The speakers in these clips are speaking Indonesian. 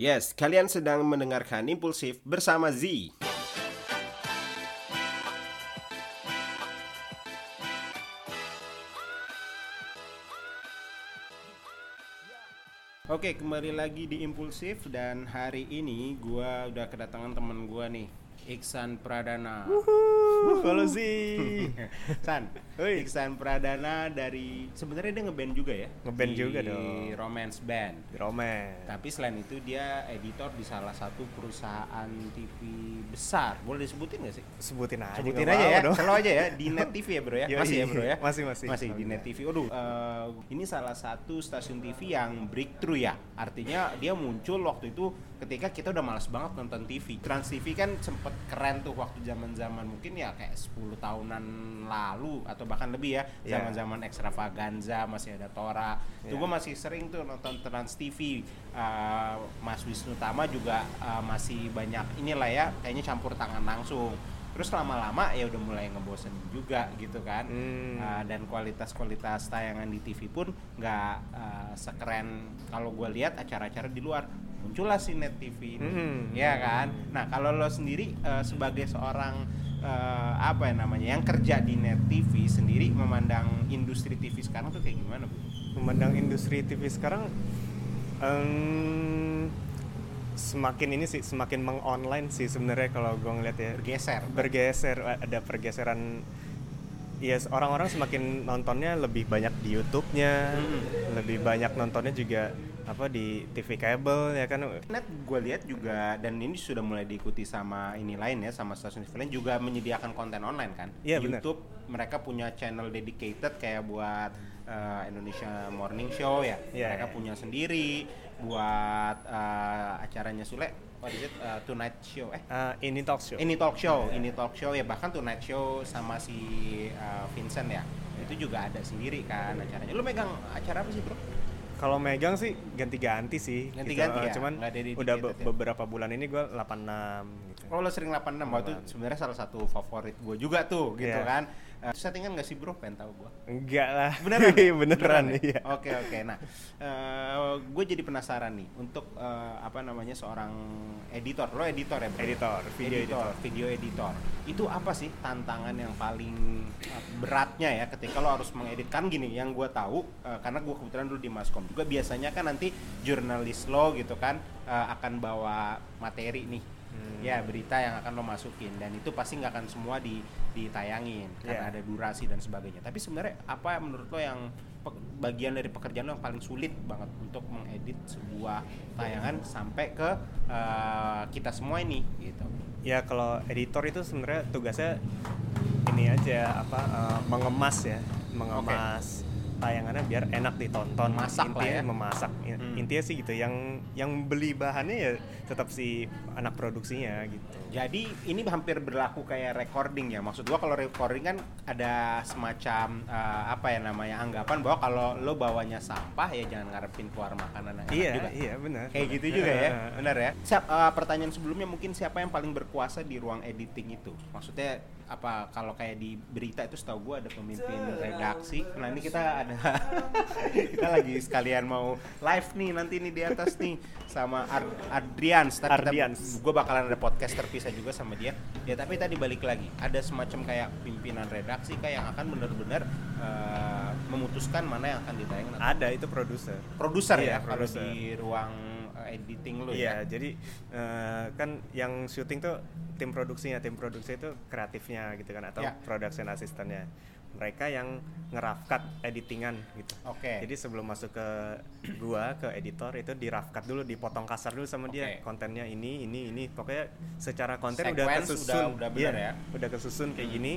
Yes, kalian sedang mendengarkan Impulsif bersama Z. Oke, kembali lagi di Impulsif dan hari ini gua udah kedatangan teman gua nih, Iksan Pradana. Halo sih. San, Oi. Iksan Pradana dari sebenarnya dia ngeband juga ya? Ngeband Di juga dong. Romance Band. Roman. Tapi selain itu dia editor di salah satu perusahaan TV besar. Boleh disebutin nggak sih? Sebutin aja. Sebutin nggak aja apa-apa ya. dong. Kalau aja ya di Net TV ya, Bro ya. Yoi. Masih ya, Bro ya. Masih, masih. Masih di Net TV. Aduh, eh, ini salah satu stasiun TV yang breakthrough ya. Artinya dia muncul waktu itu ketika kita udah malas banget nonton TV. Trans TV kan sempet keren tuh waktu zaman-zaman mungkin ya kayak 10 tahunan lalu atau bahkan lebih ya. Iya. Zaman-zaman extravaganza masih ada Tora. Itu Iya. gue masih sering tuh nonton Trans TV. Eh, Mas Wisnu Tama juga eh, masih banyak inilah ya kayaknya campur tangan langsung. Terus lama-lama ya udah mulai ngebosenin juga gitu kan. Hmm. Uh, dan kualitas-kualitas tayangan di TV pun nggak uh, sekeren kalau gue lihat acara-acara di luar muncullah si net TV ini Hmm. ya kan nah kalau lo sendiri uh, sebagai seorang uh, apa ya namanya yang kerja di net TV sendiri memandang industri TV sekarang tuh kayak gimana bu? Memandang industri TV sekarang em, semakin ini sih semakin mengonline sih sebenarnya kalau gue ngeliat ya bergeser bergeser ada pergeseran ya orang-orang semakin nontonnya lebih banyak di YouTube-nya lebih banyak nontonnya juga apa di TV kabel ya kan Net gue lihat juga dan ini sudah mulai diikuti sama ini lain ya sama stasiun TV lain juga menyediakan konten online kan. Iya, benar. YouTube mereka punya channel dedicated kayak buat eh, Indonesia Morning Show ya. Iya, mereka iya. punya sendiri buat eh, acaranya Sule. What is it? Eh, Tonight Show eh Eh, ini talk show Iya. ini talk show, ini talk show ya bahkan tonight show sama si eh, Vincent ya. Iya. Itu juga ada sendiri kan acaranya. Lu megang acara apa sih, Bro? Kalau megang sih ganti-ganti sih. Ganti-ganti Eh, ya? Cuman Nggak ada dedicated udah be- ya? beberapa bulan ini gue 86 gitu. Oh lo sering 86 waktu itu sebenarnya salah satu favorit gue juga tuh gitu Iya. kan. Eh, Itu settingan gak sih bro? Pengen tahu gue. Enggak lah. Beneran? Iya, beneran, ya? iya. Oke oke. Nah, gue jadi penasaran nih untuk eh, apa namanya seorang editor. Lo editor ya? Bro? Editor, video editor. video editor. Itu apa sih tantangan yang paling eh, beratnya ya ketika lo harus mengedit kan gini? Yang gue tahu eh, karena gue kebetulan dulu di Maskom juga biasanya kan nanti jurnalis lo gitu kan eh, akan bawa materi nih. Ya berita yang akan lo masukin dan itu pasti nggak akan semua di ditayangin karena Iya. ada durasi dan sebagainya. Tapi sebenarnya apa menurut lo yang pe- bagian dari pekerjaan lo yang paling sulit banget untuk mengedit sebuah tayangan sampai ke eh, kita semua ini gitu. Ya kalau editor itu sebenarnya tugasnya ini aja apa eh, mengemas ya, mengemas tayangannya biar enak ditonton. Memasak lah intinya ya. memasak. In- Hmm. Intinya sih gitu. Yang yang beli bahannya ya tetap si anak produksinya gitu. Jadi ini hampir berlaku kayak recording ya. Maksud gua kalau recording kan ada semacam eh, apa ya namanya anggapan bahwa kalau lo bawanya sampah ya jangan ngarepin keluar makanan yang enak Iya, juga. iya benar. Kayak gitu juga ya, Heeh. benar ya. Siap, eh, pertanyaan sebelumnya mungkin siapa yang paling berkuasa di ruang editing itu? Maksudnya apa kalau kayak di berita itu setahu gue ada pemimpin redaksi. Nah ini kita ada, kita lagi sekalian mau live nih nanti nih di atas nih sama Ar- Adrian. Ntar Ardians. Gue bakalan ada podcast terpisah juga sama dia. Ya tapi tadi balik lagi ada semacam kayak pimpinan redaksi kayak yang akan benar-benar eh, memutuskan mana yang akan ditayangkan. atau- Ada itu produser. Produser Iya, ya kalau produser. di ruang eh, editing lu ya. Iya, jadi eh, kan yang syuting tuh tim produksinya, tim produksi itu kreatifnya gitu kan atau Ya. production assistantnya. Mereka yang ngeraf cut editingan gitu. Oke. Jadi sebelum masuk ke gua ke editor itu di rough cut dulu, dipotong kasar dulu sama dia. Oke. Kontennya ini, ini, ini. Pokoknya secara konten udah Sequence kesusun. udah- udah bener Iya, ya. Udah kesusun kayak gini.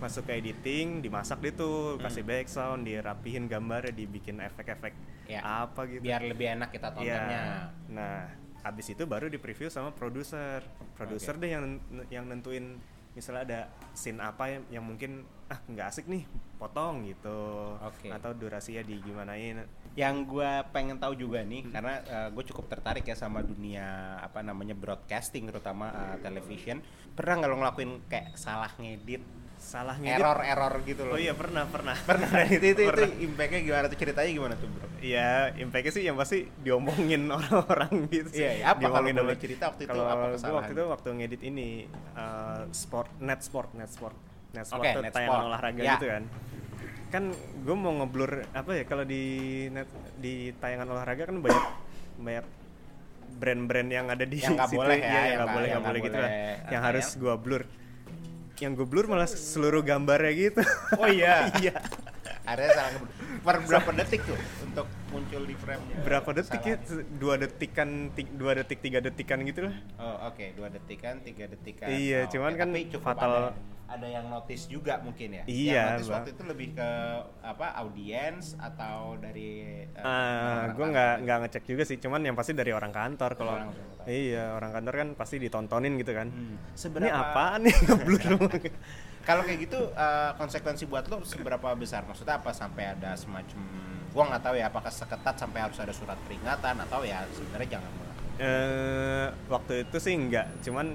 Masuk ke editing, dimasak deh tuh, kasih Hmm. background, dirapihin gambarnya, dibikin efek-efek Ya. apa gitu. biar lebih enak kita tontonnya. Iya. Nah, abis itu baru di preview sama produser. Produser deh yang nen- yang nentuin misalnya ada scene apa yang, yang mungkin ah nggak asik nih, potong gitu. Oke. Atau durasinya digimanain. Yang gue pengen tahu juga nih, Hmm. karena gue cukup tertarik ya sama dunia apa namanya broadcasting, terutama eh, television. Pernah nggak lo ngelakuin kayak salah ngedit, salahnya error error gitu gitu. loh oh iya pernah pernah Nah, pernah itu itu itu Pernah. impactnya gimana tuh ceritanya gimana tuh bro ya impactnya sih yang pasti diomongin orang-orang gitu sih. Iya, iya. Apa kalau Diomongin boleh sama- cerita waktu itu kalau apa gua kesalahan? waktu itu waktu ngedit ini eh, sport net sport net sport net sport Oke, tuh net tayangan sport. olahraga Ya. gitu kan kan gue mau ngeblur apa ya kalau di net di tayangan olahraga kan banyak banyak brand-brand yang ada di Yang nggak situ. boleh ya, Iya, yang yang nggak nggak- boleh yang nggak boleh nggak gitu lah boleh. ya? yang Oke. harus gue blur yang gue blur malah seluruh gambarnya gitu oh iya iya ada salah ngebut. per berapa detik tuh untuk muncul di frame berapa detik ya dua detikan ti- dua detik tiga detikan gitu lah Oh oke, dua detikan, tiga detikan. Oh, Iya, cuman oke. kan Tapi cukup fatal. Ada, ada yang notice juga mungkin ya. Iya, Yang notice Bang. waktu itu lebih ke apa? Audiens atau dari? eh, ah orang-orang gitu? gue nggak nggak ngecek juga sih cuman yang pasti dari orang kantor kalau nah. Orang kantor. iya orang kantor kan pasti ditontonin gitu kan Hmm. ini Seberapa? apaan nih ngeblur Kalau kayak gitu eh, konsekuensi buat lo seberapa besar? Maksudnya apa sampai ada semacam? Gue nggak tahu ya apakah seketat sampai harus ada surat peringatan atau ya sebenarnya jangan melakukan. eh waktu itu sih nggak cuman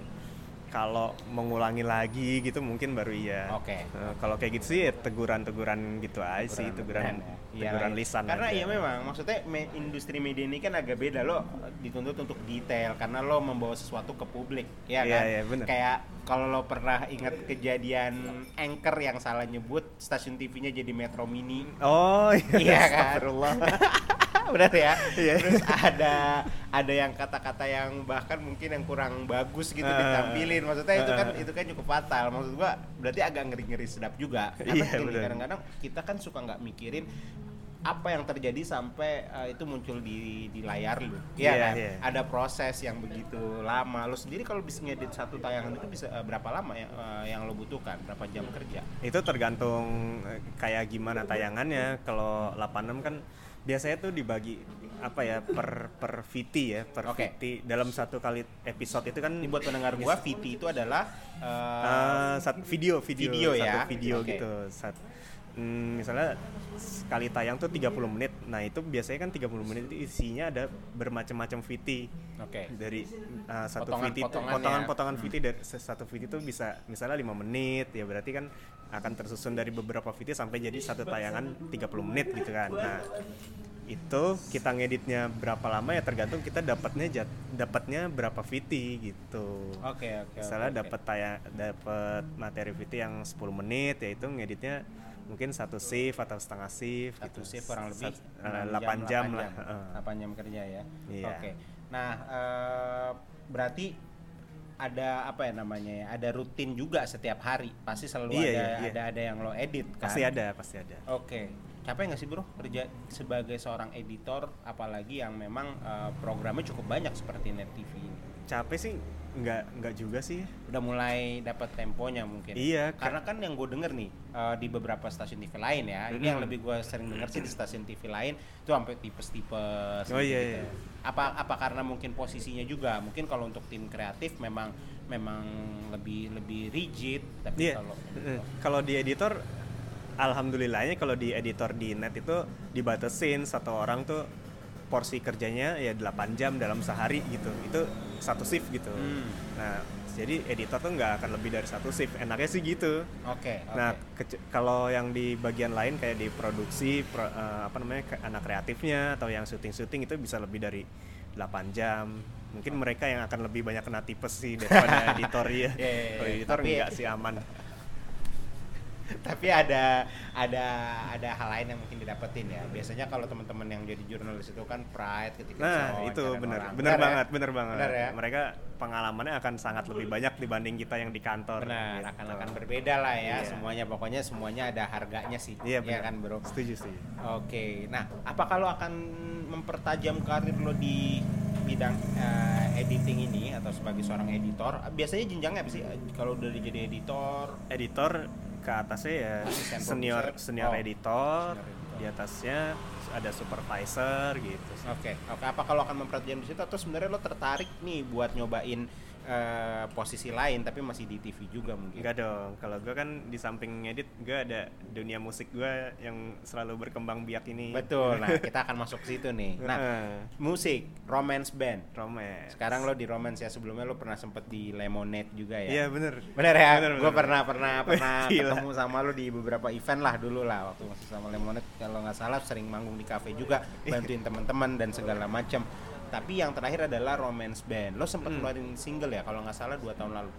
kalau mengulangi lagi gitu mungkin baru iya Oke. Eh, kalau kayak gitu sih ya teguran-teguran gitu aja sih teguran Iya, iya. teguran ya. lisan karena aja. iya memang maksudnya me- industri media ini kan agak beda lo dituntut untuk detail karena lo membawa sesuatu ke publik ya Iya, kan iya, bener. kayak kalau lo pernah ingat kejadian anchor yang salah nyebut stasiun TV-nya jadi Metro Mini oh iya, Iya kan? astagfirullah. benar ya Iya. terus ada ada yang kata-kata yang bahkan mungkin yang kurang bagus gitu Ah. ditampilin maksudnya itu kan Ah. itu kan cukup fatal maksud gua berarti agak ngeri-ngeri sedap juga karena Iya, gini, bener. kadang-kadang kita kan suka nggak mikirin apa yang terjadi sampai eh, itu muncul di di layar lu ya Iya, kan? iya. ada proses yang begitu lama lu sendiri kalau bisa ngedit satu tayangan itu bisa eh, berapa lama yang eh, yang lo butuhkan berapa jam kerja itu tergantung eh, kayak gimana tayangannya kalau 86 kan biasanya tuh dibagi apa ya per per VT ya per Oke. VT dalam satu kali episode itu kan ini buat pendengar gua VT itu adalah eh, eh, satu video video, Video satu ya, video oke. gitu Sat- mm, misalnya sekali tayang tuh 30 menit nah itu biasanya kan 30 menit itu isinya ada bermacam-macam VT oke dari uh, satu Potongan- VT potongan ya. potongan-potongan VT dari se- satu VT itu bisa misalnya lima menit ya berarti kan akan tersusun dari beberapa VT sampai jadi satu tayangan 30 menit gitu kan. Nah, itu kita ngeditnya berapa lama ya tergantung kita dapatnya jat- dapatnya berapa VT gitu. Oke Oh, oke. oke, Misalnya oke. dapat taya- dapat materi VT yang 10 menit yaitu ngeditnya mungkin satu shift atau setengah shift satu gitu. shift kurang lebih Sat- eh, 8 delapan jam, lah. Heeh. 8 jam kerja ya. Iya. Oke. Nah, eh, berarti ada apa ya namanya ya? Ada rutin juga setiap hari. Pasti selalu Iya, ada iya, iya. ada ada yang lo edit kan. Pasti ada, pasti ada. Oke. Capek nggak sih bro kerja sebagai seorang editor apalagi yang memang eh, programnya cukup banyak seperti Net TV ini. capek sih nggak nggak juga sih Udah mulai dapat temponya mungkin. iya ka- Karena kan yang gue denger nih eh, di beberapa stasiun TV lain ya, ini Mm. yang lebih gue sering denger sih di stasiun TV lain itu sampai tipes-tipes. Oh, iya, gitu-gitu. iya. Apa apa karena mungkin posisinya juga mungkin kalau untuk tim kreatif memang memang lebih lebih rigid tapi iya Kan kalau Eh, kalau di editor alhamdulillahnya kalau di editor di net itu dibatasin satu orang tuh porsi kerjanya ya 8 jam dalam sehari gitu itu satu shift gitu Hmm, nah jadi editor tuh nggak akan lebih dari satu shift enaknya sih gitu oke oke. Nah, kece- kalau yang di bagian lain kayak di produksi pro- eh, apa namanya ke- anak kreatifnya atau yang syuting-syuting itu bisa lebih dari 8 jam. Mungkin mereka yang akan lebih banyak kena tipes sih daripada editor Iya, ya. iya, Kalau iya. editor Tapi- enggak sih aman. tapi ada ada ada hal lain yang mungkin didapetin ya. Biasanya kalau teman-teman yang jadi jurnalis itu kan pride ketika bisa Nah, wawancaran itu benar. orang. Benar ya? banget, benar banget. Benar ya? Mereka pengalamannya akan sangat lebih banyak dibanding kita yang di kantor. Benar, Gitu. akan akan berbeda lah ya Iya. semuanya. Pokoknya semuanya ada harganya sih. Iya, benar. kan, Bro. Setuju sih. Oke. Nah, apakah lo akan mempertajam karir lo di bidang eh, editing ini atau sebagai seorang editor? Biasanya jenjangnya apa sih Eh, kalau udah jadi editor? editor ke atasnya ya Asisten senior produser. senior Oh, editor, senior editor. di atasnya ada supervisor gitu. Oke. Oke, apakah lo akan mempertajam di situ atau sebenarnya lo tertarik nih buat nyobain eh, eh, posisi lain tapi masih di TV juga mungkin. Enggak dong, kalau gue kan di samping ngedit gue ada dunia musik gue yang selalu berkembang biak ini. Betul. Nah, kita akan masuk ke situ nih. Nah, Heeh. musik, romance band. Romance. Sekarang lo di romance ya, sebelumnya lo pernah sempet di Lemonade juga ya. Iya bener. Bener ya, Bener, gue bener. pernah pernah pernah Gila. ketemu sama lo di beberapa event lah dulu lah waktu masih sama Lemonade kalau nggak salah sering manggung di cafe juga Iya. bantuin teman-teman dan segala macam. Tapi yang terakhir adalah romance band. Lo sempet Hmm. ngeluarin single ya kalau nggak salah dua tahun lalu.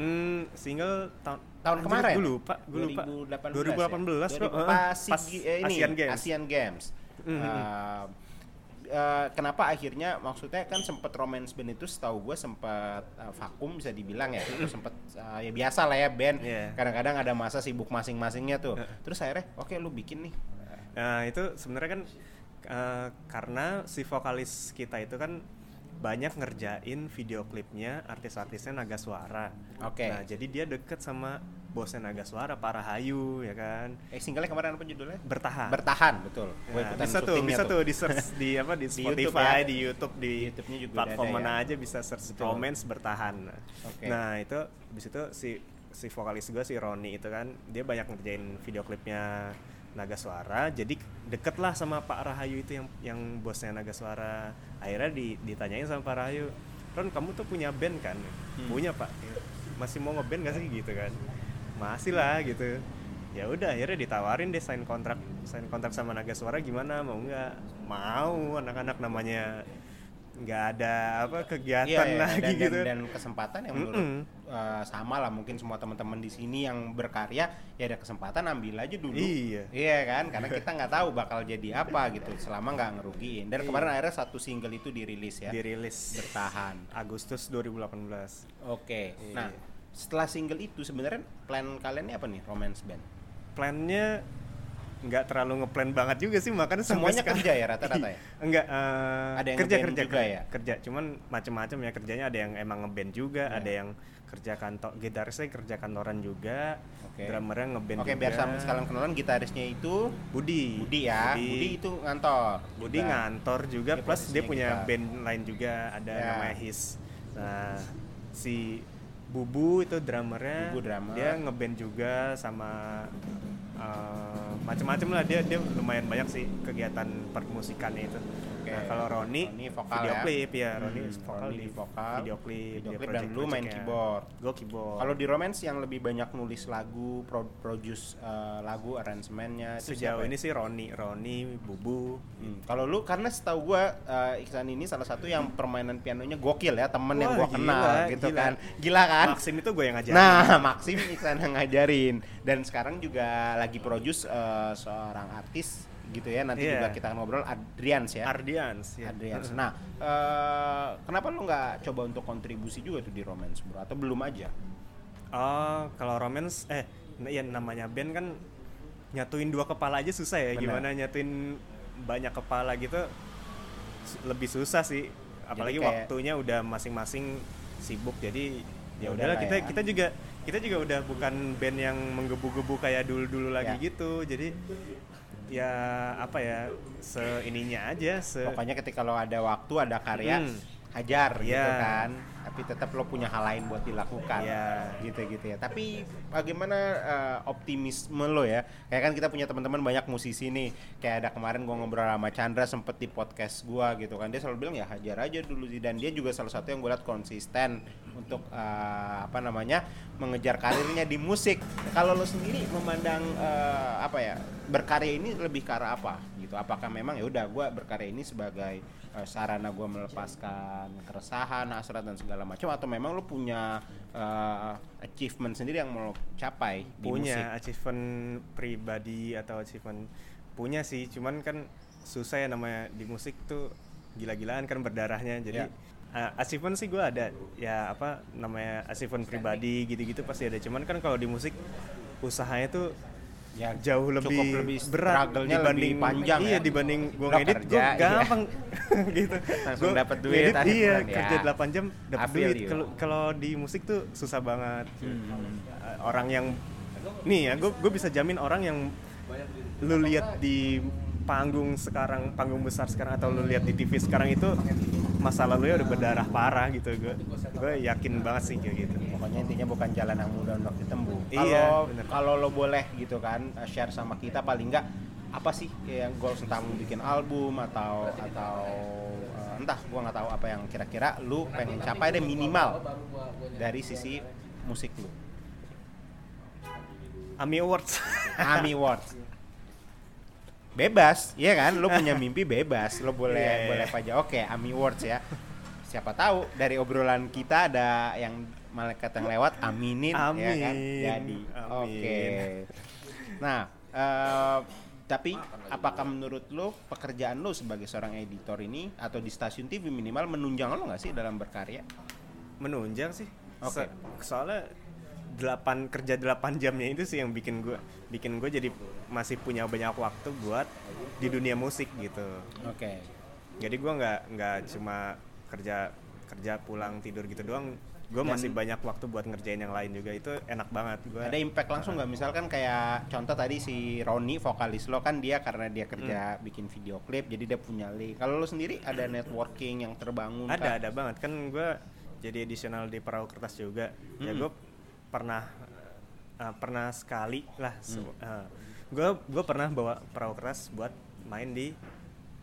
Hmm, single tahun Tahun kemarin? Gue lupa, gue lupa. 2018 ya? bro. Heeh. Pas, Pas Sigi- eh, ini, Asian Games. Asian Games. Mm, mm, mm. Eh, eh, kenapa akhirnya maksudnya kan sempet romance band itu setahu gue sempet eh, vakum bisa dibilang ya Mm-hmm. Terus sempet eh, ya biasa lah ya band Iya. kadang-kadang ada masa sibuk masing-masingnya tuh Heeh. terus akhirnya oke lu bikin nih Nah, itu sebenarnya kan eh, karena si vokalis kita itu kan banyak ngerjain video klipnya artis-artisnya Naga Suara. Oke. Nah, jadi dia deket sama bosnya Naga Suara, Para Hayu, ya kan. eh singlenya kemarin apa judulnya Bertahan. bertahan betul Gua Ah. Nah, ikutan bisa tuh, syutingnya bisa tuh di search di apa di Di YouTube Spotify, ya. di YouTube, di, Di YouTube-nya juga udah platform ada mana ya. aja bisa search Betul. romance bertahan. Nah, Oke. Nah, itu habis itu si si vokalis gue si Roni itu kan dia banyak ngerjain video klipnya Naga Suara, jadi deket lah sama Pak Rahayu itu yang yang bosnya Naga Suara. Akhirnya di- ditanyain sama Pak Rahayu, Ron kamu tuh punya band kan? Hmm. Punya pak, Ya, masih mau ngeband gak sih gitu kan? Masih lah gitu. Ya udah akhirnya ditawarin deh sign kontrak, sign kontrak sama Naga Suara gimana? Mau nggak? Mau anak-anak namanya nggak ada apa kegiatan Iya, iya, lagi dan, dan- gitu. dan kesempatan yang menurut Mm-mm. eh, sama lah mungkin semua teman-teman di sini yang berkarya ya ada kesempatan ambil aja dulu Iya. kan karena kita nggak tahu bakal jadi apa gitu selama nggak ngerugiin Iya. dan kemarin akhirnya satu single itu dirilis ya Dirilis bertahan Agustus 2018. oke Iya. nah setelah single itu sebenarnya plan kalian ini apa nih romance band Plannya nggak terlalu ngeplan banget juga sih makanya sampai Semuanya sekarang- kerja ya, rata-rata ya? enggak eh, Ada yang kerja ngeband kerja juga kerja, ya? kerja cuman macem-macem ya kerjanya ada yang emang ngeband juga Iya. ada yang kerja kantor gitarisnya kerja kantoran juga Oke. drummernya ngeband oke juga biar sama sekalian kenalan gitarisnya itu Budi Budi ya Budi, itu ngantor Budi juga. ngantor juga Nah, Dia plus dia posisinya punya gitar. band lain juga ada Ya. namanya His nah si Bubu itu drummernya Bubu drummer. dia ngeband juga sama eh, macem-macem lah dia dia lumayan banyak sih kegiatan permusikannya itu Oke. nah kalau Roni, Roni vokal video ya? klip ya Hmm, Roni vokal Roni di vokal, video klip video dia klip dan lu main project-projectnya. keyboard. gua keyboard Kalau di romance yang lebih banyak nulis lagu, pro produce eh, lagu, arrangementnya itu sejauh siapa ya? ini sih Roni Roni Bubu Hmm, Kalau lu karena setahu gua eh, Iksan ini salah satu yang permainan pianonya gokil ya, temen yang gua Wah, kenal gila, gitu gila. kan. Gila kan? Maxim itu gue yang ngajarin Nah, Maxim Iksan yang ngajarin dan sekarang juga lagi produce eh, seorang artis gitu ya. Nanti Iya. juga kita ngobrol Adrians ya. Ardians ya. Adrians. Nah, eh, kenapa lu nggak coba untuk kontribusi juga tuh di romance bro? Atau belum aja? Oh, kalau romance eh n- ya namanya band kan nyatuin dua kepala aja susah ya. Benar. Gimana nyatuin banyak kepala gitu su- lebih susah sih. Apalagi kayak- waktunya udah masing-masing sibuk. Jadi Ya ya udahlah udahlah kita ya. kita juga kita juga udah bukan band yang menggebu-gebu kayak dulu-dulu lagi Ya. gitu. Jadi ya apa ya seininya aja se pokoknya ketika lo ada waktu ada karya Mm. hajar gitu Iya. kan tapi tetap lo punya hal lain buat dilakukan Iya. gitu-gitu ya tapi bagaimana eh, optimisme lo ya kayak kan kita punya teman-teman banyak musisi nih kayak ada kemarin gua ngobrol sama Chandra sempet di podcast gua gitu kan dia selalu bilang ya hajar aja dulu sih dan dia juga salah satu yang gue liat konsisten untuk eh, apa namanya mengejar karirnya di musik kalau lo sendiri memandang eh, apa ya berkarya ini lebih ke arah apa gitu apakah memang ya udah gue berkarya ini sebagai eh, sarana gue melepaskan keresahan hasrat dan segala macam atau memang lu punya eh, achievement sendiri yang mau lo capai di musik punya achievement pribadi atau achievement punya sih cuman kan susah ya namanya di musik tuh gila-gilaan kan berdarahnya Ya. jadi eh, achievement sih gue ada ya apa namanya achievement pribadi gitu-gitu pasti ada cuman kan kalau di musik usahanya tuh ya jauh cukup lebih, berat struggle-nya dibanding lebih panjang ya. iya dibanding gua Lo ngedit kerja, gua iya. gampang gitu Langsung Gua dapet duit ngedit, akhir iya bulan, ya. kerja 8 jam dapat I feel duit you. kalau kalau di musik tuh susah banget Eh, orang yang nih ya gue bisa jamin orang yang lu lihat di panggung sekarang panggung besar sekarang atau lu lihat di TV sekarang itu masa lalunya udah berdarah parah gitu gue gue yakin banget sih kayak gitu Pokoknya intinya bukan jalan yang mudah untuk ditempuh. Iya, Kalau bener. kalau lo boleh gitu kan eh, share sama kita paling nggak apa sih yang goals entah lu bikin album atau atau eh, entah gua nggak tahu apa yang kira-kira lu pengen capai deh minimal dari sisi musik lu. Ami Awards AMI Awards. Bebas, iya kan? Lo punya mimpi bebas, lo boleh Iya, iya. boleh apa aja. Oke, AMI Awards ya. Siapa tahu dari obrolan kita ada yang malaikat yang lewat aminin ya kan? Amin. Jadi, Amin. oke. Nah, eh, tapi apakah menurut lo pekerjaan lo sebagai seorang editor ini atau di stasiun TV minimal menunjang lo nggak sih dalam berkarya? menunjang sih Oke. Se- soalnya delapan kerja 8 jamnya itu sih yang bikin gue bikin gue jadi masih punya banyak waktu buat di dunia musik gitu Oke. jadi gue nggak nggak cuma kerja kerja pulang tidur gitu doang gue Dan- masih banyak waktu buat ngerjain yang lain juga itu enak banget gue ada impact langsung nggak misalkan kayak contoh tadi si Roni vokalis lo kan dia karena dia kerja Hmm. bikin video klip jadi dia punya link kalau lo sendiri ada networking yang terbangun kah? ada ada banget kan gue jadi additional di perahu kertas juga ya gue pernah eh, pernah sekali lah Mm. gue gue pernah bawa perahu kertas buat main di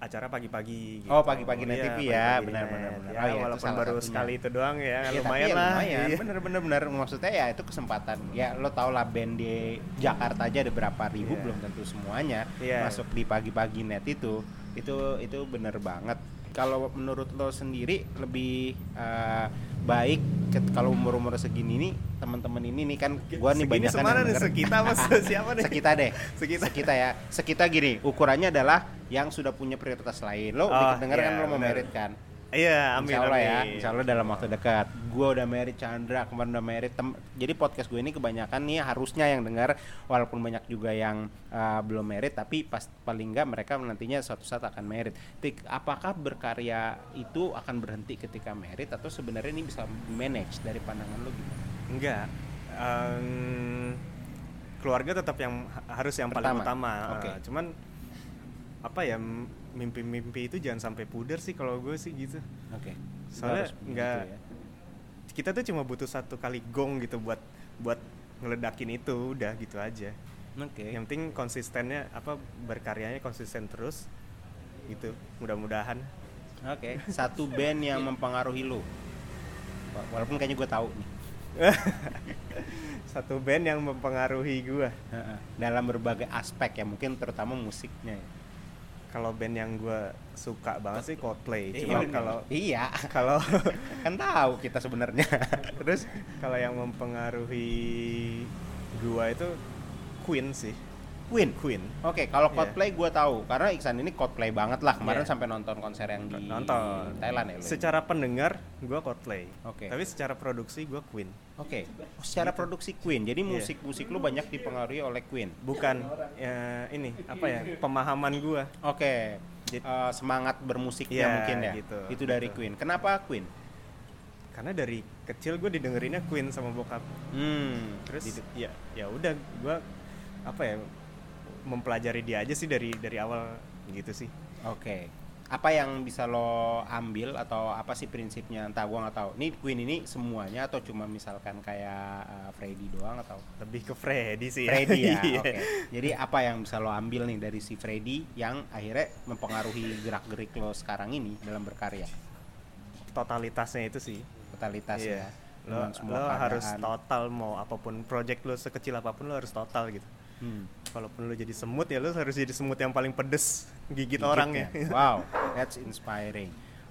acara pagi-pagi gitu. Iya, Oh, pagi-pagi net TV ya, pagi-pagi benar, net. benar, benar. Ya, Oh, iya, itu walaupun salah baru satunya. sekali itu doang ya, Ya, tapi lumayan ya lah lumayan. iya. bener bener bener maksudnya ya itu kesempatan ya lo tau lah band di Jakarta aja ada berapa ribu Iya. belum tentu semuanya Iya. masuk di pagi-pagi net itu itu itu bener banget kalau menurut lo sendiri lebih eh, baik ke- kalau umur umur segini nih teman-teman ini nih kan gua nih Segini banyak semana nih sekita apa se- siapa nih sekita deh Sekita. sekita. ya sekita gini ukurannya adalah yang sudah punya prioritas lain lo Oh, oh, denger kan iya, lo mau benar. merit kan iya amin Insya Allah ya, amin. insya Allah dalam waktu dekat. Gue udah married Chandra, kemarin udah married. Tem- Jadi podcast gue ini kebanyakan nih harusnya yang dengar, walaupun banyak juga yang uh, belum married, tapi pas paling nggak mereka nantinya suatu saat akan married. Tik, apakah berkarya itu akan berhenti ketika married atau sebenarnya ini bisa manage dari pandangan lo gimana? Enggak. Em, keluarga tetap yang ha- harus yang paling Pertama. utama. Oke. Eh, Cuman apa ya m- mimpi-mimpi itu jangan sampai pudar sih kalau gue sih gitu. Oke. Soalnya Harus begitu enggak ya. kita tuh cuma butuh satu kali gong gitu buat buat ngeledakin itu udah gitu aja. Oke. Yang penting konsistennya apa berkaryanya konsisten terus gitu. Mudah-mudahan Oke. Satu band yang mempengaruhi lo, Wa- walaupun kayaknya gue tahu nih. satu band yang mempengaruhi gue. Heeh. dalam berbagai aspek ya mungkin terutama musiknya ya. Kalau band yang gue suka banget sih Coldplay. Iya, Cuma bener. kalau iya kalau kan tahu kita sebenarnya Terus kalau yang mempengaruhi gua itu Queen sih. Queen Queen. oke kalau Iya. Coldplay gue tahu karena Iksan ini Coldplay banget lah kemarin Iya. sampai nonton konser yang di Nonton. Thailand ya lu ya? Secara pendengar gua Coldplay. Oke. Tapi secara produksi gua Queen. oke Oh, secara produksi Queen jadi Gitu. Iya. musik musik lu banyak dipengaruhi oleh Queen Bukan eh, ini apa ya? Pemahaman gua. oke Jadi- eh, semangat bermusiknya Iya, mungkin ya gitu, itu dari gitu. Queen kenapa Queen Karena dari kecil gue didengerinnya Queen sama bokap. hmm Terus ya ya udah gua apa ya mempelajari dia aja sih dari dari awal gitu sih. Oke. Apa yang bisa lo ambil atau apa sih prinsipnya? Entah gua nggak tahu. Ini Queen ini semuanya atau cuma misalkan kayak uh, Freddy doang atau Lebih ke Freddy sih. Freddy ya. Iya. Oke. Jadi apa yang bisa lo ambil nih dari si Freddy yang akhirnya mempengaruhi gerak-gerik lo sekarang ini dalam berkarya? Totalitasnya itu sih. Totalitas Iya. ya. Lo, Dengan semua lo keadaan. harus total mau apapun project lo sekecil apapun lo harus total gitu. Hmm. Walaupun lo jadi semut ya lo harus jadi semut yang paling pedes gigit, Gigit orang ya. ya. Wow, that's inspiring.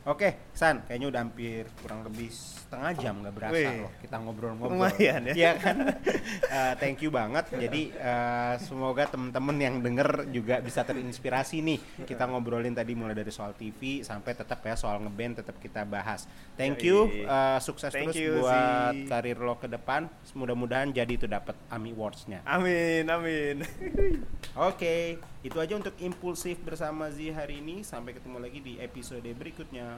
Oke, San, kayaknya udah hampir kurang lebih setengah jam nggak berasa Wih. loh kita ngobrol-ngobrol. Lumayan ya. Iya kan? Eh, thank you banget. Jadi eh, semoga temen-temen yang denger juga bisa terinspirasi nih. Kita ngobrolin tadi mulai dari soal TV sampai tetap ya soal ngeband tetap kita bahas. Thank you, Yoi. eh, sukses terus Thank you, buat Zi. karir lo ke depan. Mudah-mudahan jadi itu dapat AMI Awards-nya. Amin amin. Oke, itu aja untuk impulsif bersama Zi hari ini. Sampai ketemu lagi di episode berikutnya.